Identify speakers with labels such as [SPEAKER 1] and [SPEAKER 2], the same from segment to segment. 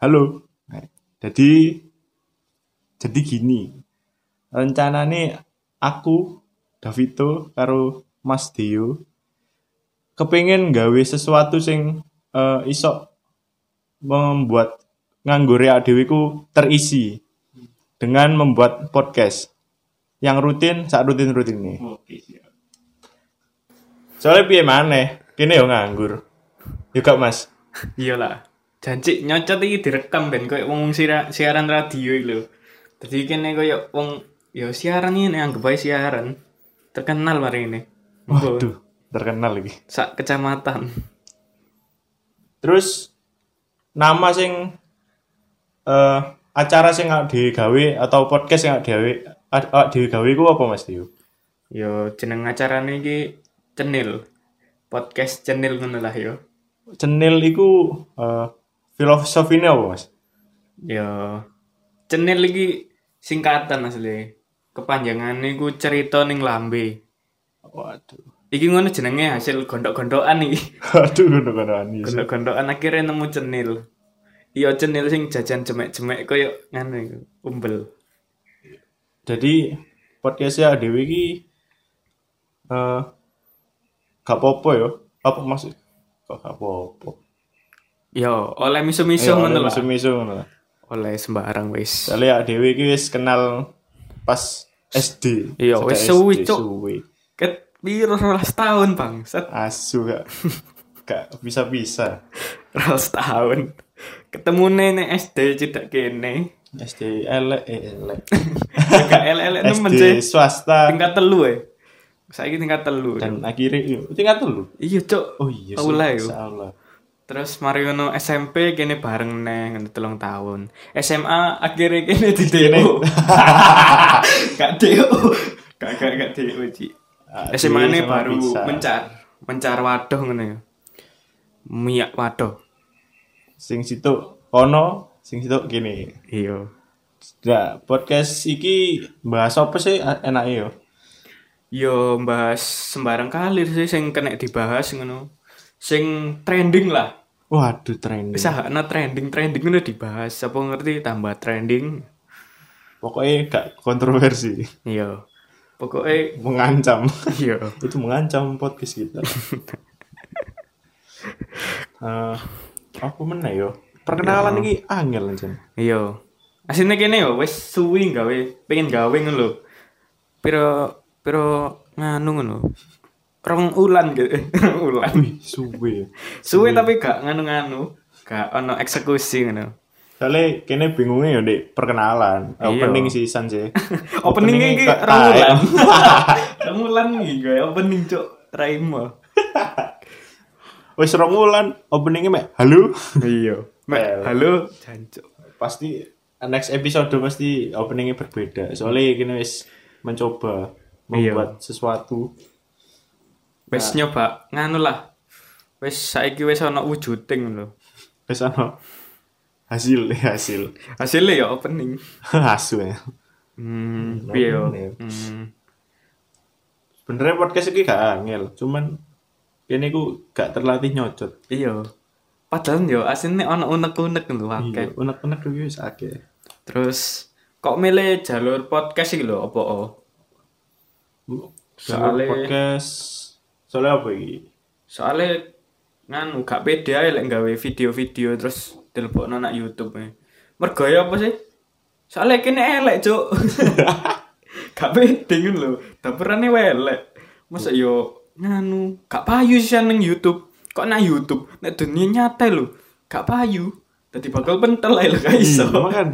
[SPEAKER 1] Halo. Nah, jadi jadi gini. Rencanane aku, Davito karo Mas Dio kepingin nggawe sesuatu sing eh, iso membuat nganggur dhewe ku terisi dengan membuat podcast yang rutin saat rutin rutin nih
[SPEAKER 2] Oke siap.
[SPEAKER 1] soalnya piye maneh kini yo nganggur juga mas
[SPEAKER 2] Iyalah. Janji nyocot iki direkam ben koyo wong sira- siaran radio iki lho. Dadi kene koyo wong ya siaran ini anggap ae siaran. Terkenal mari ini.
[SPEAKER 1] waduh terkenal lagi
[SPEAKER 2] Sak kecamatan.
[SPEAKER 1] terus nama sing eh acara sing nggak digawe atau podcast yang nggak digawe ad- awak dhewe gawe ku apa mas Dio
[SPEAKER 2] Yo Ya, jeneng acarane iki Cenil. Podcast Cenil ngono lah ya. yo.
[SPEAKER 1] cenil iku eh filosofine apa mas
[SPEAKER 2] Yo Ya, Cenil iki singkatan asli. Kepanjangane iku cerita ning lambe.
[SPEAKER 1] waduh
[SPEAKER 2] Iki ngono jenenge hasil gondok-gondokan iki.
[SPEAKER 1] aduh ngono kono anis
[SPEAKER 2] Gondok-gondokan akhirnya nemu cenil. Iya cenil sing jajan jemek-jemek koyo ngene iku, umbel.
[SPEAKER 1] jadi podcastnya Dewi ki eh gak apa-apa yo apa maksud kok gak apa-apa
[SPEAKER 2] Yo, Iya, oleh
[SPEAKER 1] Iya,
[SPEAKER 2] misu-misu ngono lah.
[SPEAKER 1] misu ngono lah
[SPEAKER 2] Oleh sembarang wis.
[SPEAKER 1] soalnya Dewi ki wis kenal pas SD
[SPEAKER 2] Iya,
[SPEAKER 1] Sejak
[SPEAKER 2] wis suwi,
[SPEAKER 1] SD,
[SPEAKER 2] Cuk.
[SPEAKER 1] suwi.
[SPEAKER 2] Ket piro 12 tahun, Bang? Set
[SPEAKER 1] asu gak gak bisa-bisa
[SPEAKER 2] 12 tahun. Ketemu nenek SD cedak kene.
[SPEAKER 1] SD elek eh, elek
[SPEAKER 2] Gak elek-elek nemen sih.
[SPEAKER 1] SD swasta
[SPEAKER 2] Tingkat telu ya. Saiki tingkat telu.
[SPEAKER 1] dan akhirnya iya, tingkat lu
[SPEAKER 2] Iya, Cuk.
[SPEAKER 1] oh iya
[SPEAKER 2] Aku lah yo.
[SPEAKER 1] Allah
[SPEAKER 2] Terus Mariono SMP kene bareng neh ngono telung tahun. SMA akhirnya kene di DO. Gak DO. Gak gak gak DO, Ci.
[SPEAKER 1] Ah, DO
[SPEAKER 2] SMA ne
[SPEAKER 1] sama
[SPEAKER 2] baru
[SPEAKER 1] bisa.
[SPEAKER 2] mencar, mencar wadah ngono ya. Miak wadah.
[SPEAKER 1] sing situ kono sing situ gini
[SPEAKER 2] Iya.
[SPEAKER 1] Nah, podcast iki bahas apa sih enak ya? yo?
[SPEAKER 2] Yo bahas sembarang kalir sih sing kena dibahas ngono. Sing trending lah.
[SPEAKER 1] Waduh trending.
[SPEAKER 2] Sahana trending trending udah dibahas. Apa ngerti tambah trending?
[SPEAKER 1] Pokoknya gak kontroversi,
[SPEAKER 2] Iya. Pokoknya
[SPEAKER 1] mengancam.
[SPEAKER 2] iya.
[SPEAKER 1] Itu mengancam podcast kita. Eh, aku mana yo?
[SPEAKER 2] Ya.
[SPEAKER 1] Perkenalan iki angel aja.
[SPEAKER 2] Iya. Asine kene yo wis suwi gawe, pengen gawe ngono lho. Piro piro nganu ngono. Rong ulan gitu. ulan.
[SPEAKER 1] Wih, suwe.
[SPEAKER 2] Suwi tapi gak nganu-nganu, gak ono eksekusi ngono.
[SPEAKER 1] Soalnya kene bingungnya yo Dik, perkenalan. Opening season sih.
[SPEAKER 2] Openingnya Iya. iki
[SPEAKER 1] tak-
[SPEAKER 2] rong ulan.
[SPEAKER 1] taem.
[SPEAKER 2] Rong ulan iki gawe opening cuk Raimo.
[SPEAKER 1] Wis rong wulan, openingnya mek halo.
[SPEAKER 2] Iya.
[SPEAKER 1] Eh.
[SPEAKER 2] halo jancuk.
[SPEAKER 1] pasti next episode pasti openingnya berbeda soalnya kita wis mencoba
[SPEAKER 2] Iya.
[SPEAKER 1] membuat sesuatu
[SPEAKER 2] Wis nyoba nganu lah. Wis saiki wis ono wujuding lho.
[SPEAKER 1] wis ana hasil hasil
[SPEAKER 2] Hasilnya ya opening.
[SPEAKER 1] hasil
[SPEAKER 2] Hmm, piye yo.
[SPEAKER 1] opening.
[SPEAKER 2] Hmm.
[SPEAKER 1] sebenarnya podcast ini gak angel cuman ini ku gak terlatih nyocot
[SPEAKER 2] Iya. Padahal yo asline ono unek-unek lho akeh.
[SPEAKER 1] Iya, unek-unek dulu wis akeh
[SPEAKER 2] Terus kok milih jalur podcast iki lho oh? opo? o?
[SPEAKER 1] soalnya
[SPEAKER 2] Soale-
[SPEAKER 1] podcast soalnya apa iki
[SPEAKER 2] Soale nganu gak pede ae lek gawe video-video terus dilebokno nang YouTube. e. Mergo ya apa sih? Soale kene elek, Cuk. gak pede ngono lho. Dapurane elek. Masa yo nganu gak payu sih nang YouTube. Kok nang YouTube? Nek dunia nyata lho. Gak payu. Tadi bakal pentel ae lho gak iso.
[SPEAKER 1] Iya, kan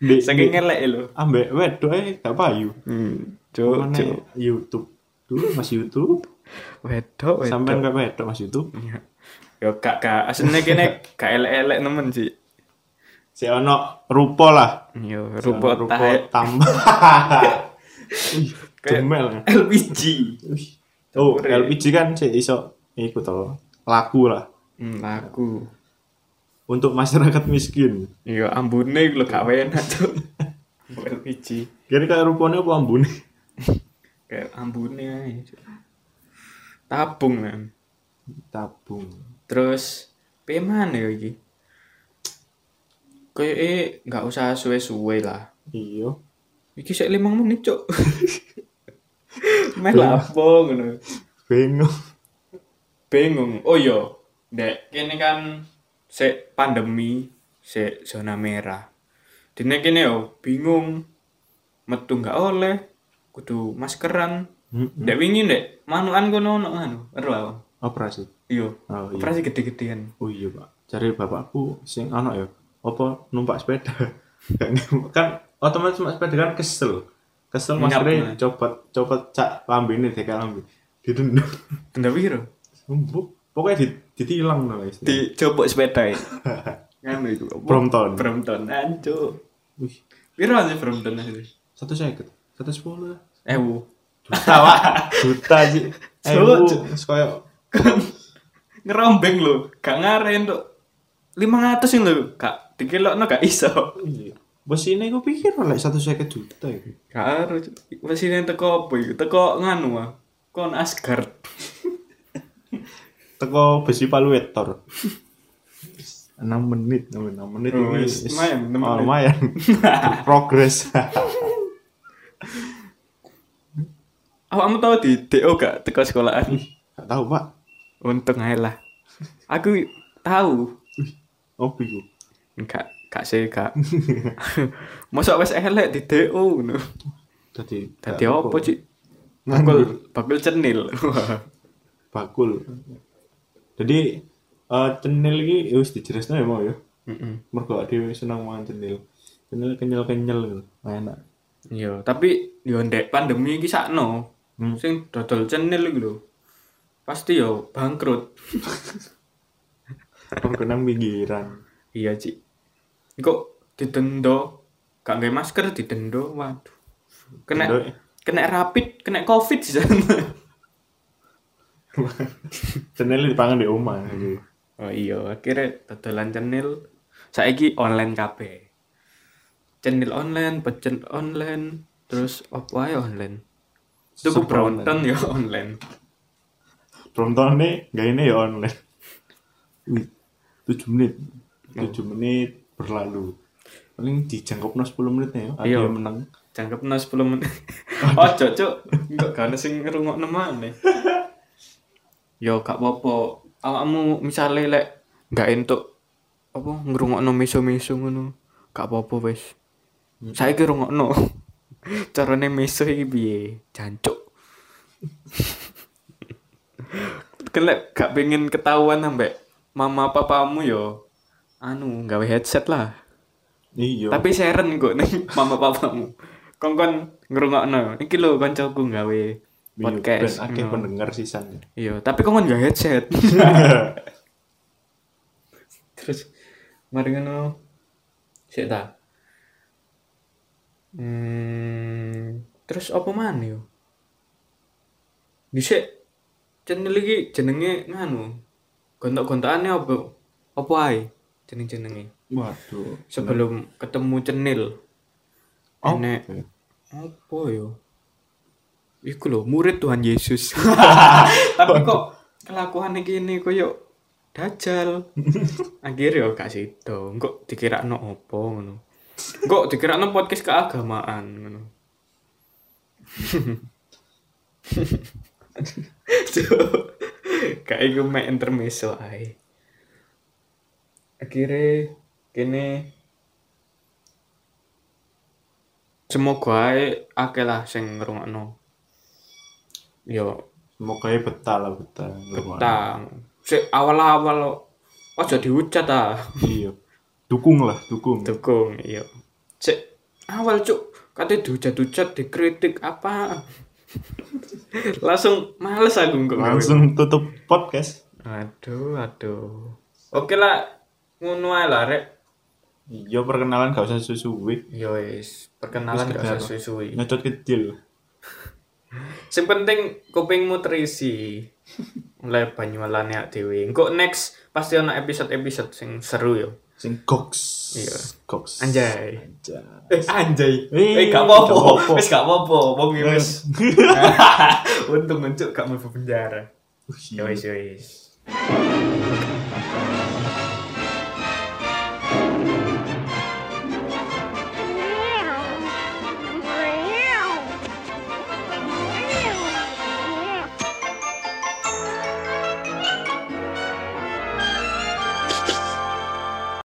[SPEAKER 1] di
[SPEAKER 2] Saking elek e lho.
[SPEAKER 1] ambek wedok e gak payu
[SPEAKER 2] Hmm,
[SPEAKER 1] Mana ya? YouTube dulu mas YouTube
[SPEAKER 2] Wedok, wedok.
[SPEAKER 1] sampai nggak wedok mas YouTube
[SPEAKER 2] Yo gak gak asline kene gak elek-elek nemen sih.
[SPEAKER 1] si ono rupo lah
[SPEAKER 2] Yo
[SPEAKER 1] Si ono
[SPEAKER 2] rupa tahe
[SPEAKER 1] tambah Ih,
[SPEAKER 2] Kayak-
[SPEAKER 1] jemel
[SPEAKER 2] LPG.
[SPEAKER 1] Wih. oh
[SPEAKER 2] Campur ya.
[SPEAKER 1] LPG kan si iso iku to laku lah
[SPEAKER 2] Hmm, lagu.
[SPEAKER 1] untuk masyarakat miskin
[SPEAKER 2] Yo ambune iku lho gak enak, Cuk. LPG.
[SPEAKER 1] jadi kayak rupanya apa ambune
[SPEAKER 2] Kayak ambune ae. Cuk. Tabung kan.
[SPEAKER 1] tabung
[SPEAKER 2] Terus piye mana yo iki? Kayaknya nggak e, usah suwe-suwe lah.
[SPEAKER 1] Iya.
[SPEAKER 2] Iki sik 5 menit, Cuk. Meh lah apa ngono.
[SPEAKER 1] Bingung.
[SPEAKER 2] Bingung. Oh iya, Dek, kene kan sik pandemi, sik zona merah. Dene kene yo bingung metu nggak oleh, kudu maskeran.
[SPEAKER 1] Mm-mm.
[SPEAKER 2] Dek wingi, Dek, manukan kono ono anu, ero aku.
[SPEAKER 1] Operasi.
[SPEAKER 2] Iya.
[SPEAKER 1] Oh, iya.
[SPEAKER 2] Operasi gede-gedean.
[SPEAKER 1] Oh iya pak, cari bapakku sing anak ya, apa numpak sepeda? Gak nemu. kan otomatis numpak sepeda kan kesel, kesel
[SPEAKER 2] Ngap,
[SPEAKER 1] maksudnya
[SPEAKER 2] nah.
[SPEAKER 1] copot copot cak lambe ini deka lambe, didendam,
[SPEAKER 2] Benda piro?
[SPEAKER 1] Empuk. pokoknya di, ditilang lah istilah.
[SPEAKER 2] Dicopok sepeda. Nganu iku. apa?
[SPEAKER 1] e. Brompton.
[SPEAKER 2] Brompton, ancu.
[SPEAKER 1] Wih,
[SPEAKER 2] Piro aja Brompton asli?
[SPEAKER 1] satu seket, satu sepuluh lah.
[SPEAKER 2] Ewu.
[SPEAKER 1] Juta pak, juta sih. Eh,
[SPEAKER 2] Cuk,
[SPEAKER 1] bu,
[SPEAKER 2] cuk.
[SPEAKER 1] koyo
[SPEAKER 2] ngerombeng lho gak ngaren tuh 500 ini lho kak dikilokno gak iso
[SPEAKER 1] iya." bos ini gue pikir lah satu seket juta ya? itu.
[SPEAKER 2] gak harus mesin yang teko apa itu teko nganu ah kon Asgard
[SPEAKER 1] Teko besi paluet tor. 6 menit, 6 menit
[SPEAKER 2] Oh,
[SPEAKER 1] ini
[SPEAKER 2] wis, lumayan, enam
[SPEAKER 1] oh,
[SPEAKER 2] menit.
[SPEAKER 1] lumayan. Progress.
[SPEAKER 2] awakmu tau di DO gak teko sekolahan
[SPEAKER 1] Gak tahu, Pak.
[SPEAKER 2] untung ae lah aku tahu
[SPEAKER 1] Opi ku.
[SPEAKER 2] enggak gak sih gak mosok wes elek di DO ngono
[SPEAKER 1] Dadi
[SPEAKER 2] dadi apa cik
[SPEAKER 1] Bakul.
[SPEAKER 2] bakul bakul cenil Wah.
[SPEAKER 1] Bakul. Jadi eh cenil iki ya wis dijelasno ya mau ya.
[SPEAKER 2] Mm-mm.
[SPEAKER 1] Mergo dhewe seneng mangan cenil. Cenil kenyal-kenyal gitu. enak.
[SPEAKER 2] Iya, tapi yo ndek pandemi iki sakno.
[SPEAKER 1] Hmm.
[SPEAKER 2] Sing dodol cenil iku lho. Pasti yo bangkrut.
[SPEAKER 1] Mergo nang pinggiran.
[SPEAKER 2] iya, Cik. Iku didenda, gak nggae masker didenda. Waduh. Kena
[SPEAKER 1] Denda.
[SPEAKER 2] kena rapid, kena covid sih.
[SPEAKER 1] Cenil dipangan di omah gitu.
[SPEAKER 2] oh iya, akhirnya dodolan cenil saiki online kabeh. Cenil online, pecen online, terus apa ae online. Tuku
[SPEAKER 1] Serba
[SPEAKER 2] Brompton yo ya, online.
[SPEAKER 1] Prontone gak ini ya online. Wih, 7 menit. 7 menit berlalu. Paling dijangkau 10 menit ya. Ada
[SPEAKER 2] Iya.
[SPEAKER 1] yang menang.
[SPEAKER 2] Jangkep no 10 menit. Ojo, Cuk. Enggak gak ada sing ngrungokno maneh. Yo gak apa-apa. Awakmu misale lek gak entuk apa ngrungokno meso-meso ngono. Gak apa-apa wis. Saiki rungokno. Carane meso iki piye? Jancuk. Kelek Kan, gak pengen ketahuan ambek mama papamu yo. Anu, gawe headset lah.
[SPEAKER 1] Iya.
[SPEAKER 2] Tapi seren kok nih mama papamu. Kon kon ngrungokno. Iki lho kancaku gawe
[SPEAKER 1] Iya,
[SPEAKER 2] podcast. Hmm,
[SPEAKER 1] Ben akeh pendengar sisanya.
[SPEAKER 2] Iya, tapi kon kon gak headset. Terus mari ngono. Sik ta. Hmm, terus apa mana yo? Bisa channel iki jenenge nganu. Gontok-gontokane apa? Apa ae jeneng-jenenge?
[SPEAKER 1] Waduh.
[SPEAKER 2] sebelum ketemu cenil
[SPEAKER 1] Oh.
[SPEAKER 2] enek apa yo iku lho murid Tuhan Yesus tapi kok kelakuan iki ini koyo dajal akhirnya yo gak sido kok dikira apa ngono kok dikira podcast keagamaan ngono Cuk, kayak gue main intermezzo ae akhirnya kene semoga ae akeh lah sing ngrungokno yo
[SPEAKER 1] Semoga ya betah lah betah.
[SPEAKER 2] tang sik awal-awal lo aja dihujat ah
[SPEAKER 1] Iya. Dukung lah, dukung.
[SPEAKER 2] dukung yo sik awal cuk kate dihujat-hujat dikritik apa langsung males aku kok gawe.
[SPEAKER 1] Langsung tutup podcast.
[SPEAKER 2] aduh aduh oke lah ngono ae lah rek
[SPEAKER 1] Iya perkenalan gak usah susuwi.
[SPEAKER 2] yo wis perkenalan
[SPEAKER 1] Wis
[SPEAKER 2] gak
[SPEAKER 1] kejar.
[SPEAKER 2] usah suwi
[SPEAKER 1] Nyocot kecil.
[SPEAKER 2] Sing penting kupingmu terisi. Mulai banyu alane awake dhewe. Engko next pasti ono episode-episode sing seru yo.
[SPEAKER 1] Sing goks.
[SPEAKER 2] Iya.
[SPEAKER 1] Goks.
[SPEAKER 2] Anjay.
[SPEAKER 1] Anjay.
[SPEAKER 2] Eh anjay.
[SPEAKER 1] Eh,
[SPEAKER 2] Eh
[SPEAKER 1] gak
[SPEAKER 2] gak
[SPEAKER 1] apa-apa.
[SPEAKER 2] apa-apa. Wis gak apa-apa. Wong iki wis.
[SPEAKER 1] iya.
[SPEAKER 2] Untung mencuk gak mau penjara.
[SPEAKER 1] Wih,
[SPEAKER 2] Yo wis yo wis.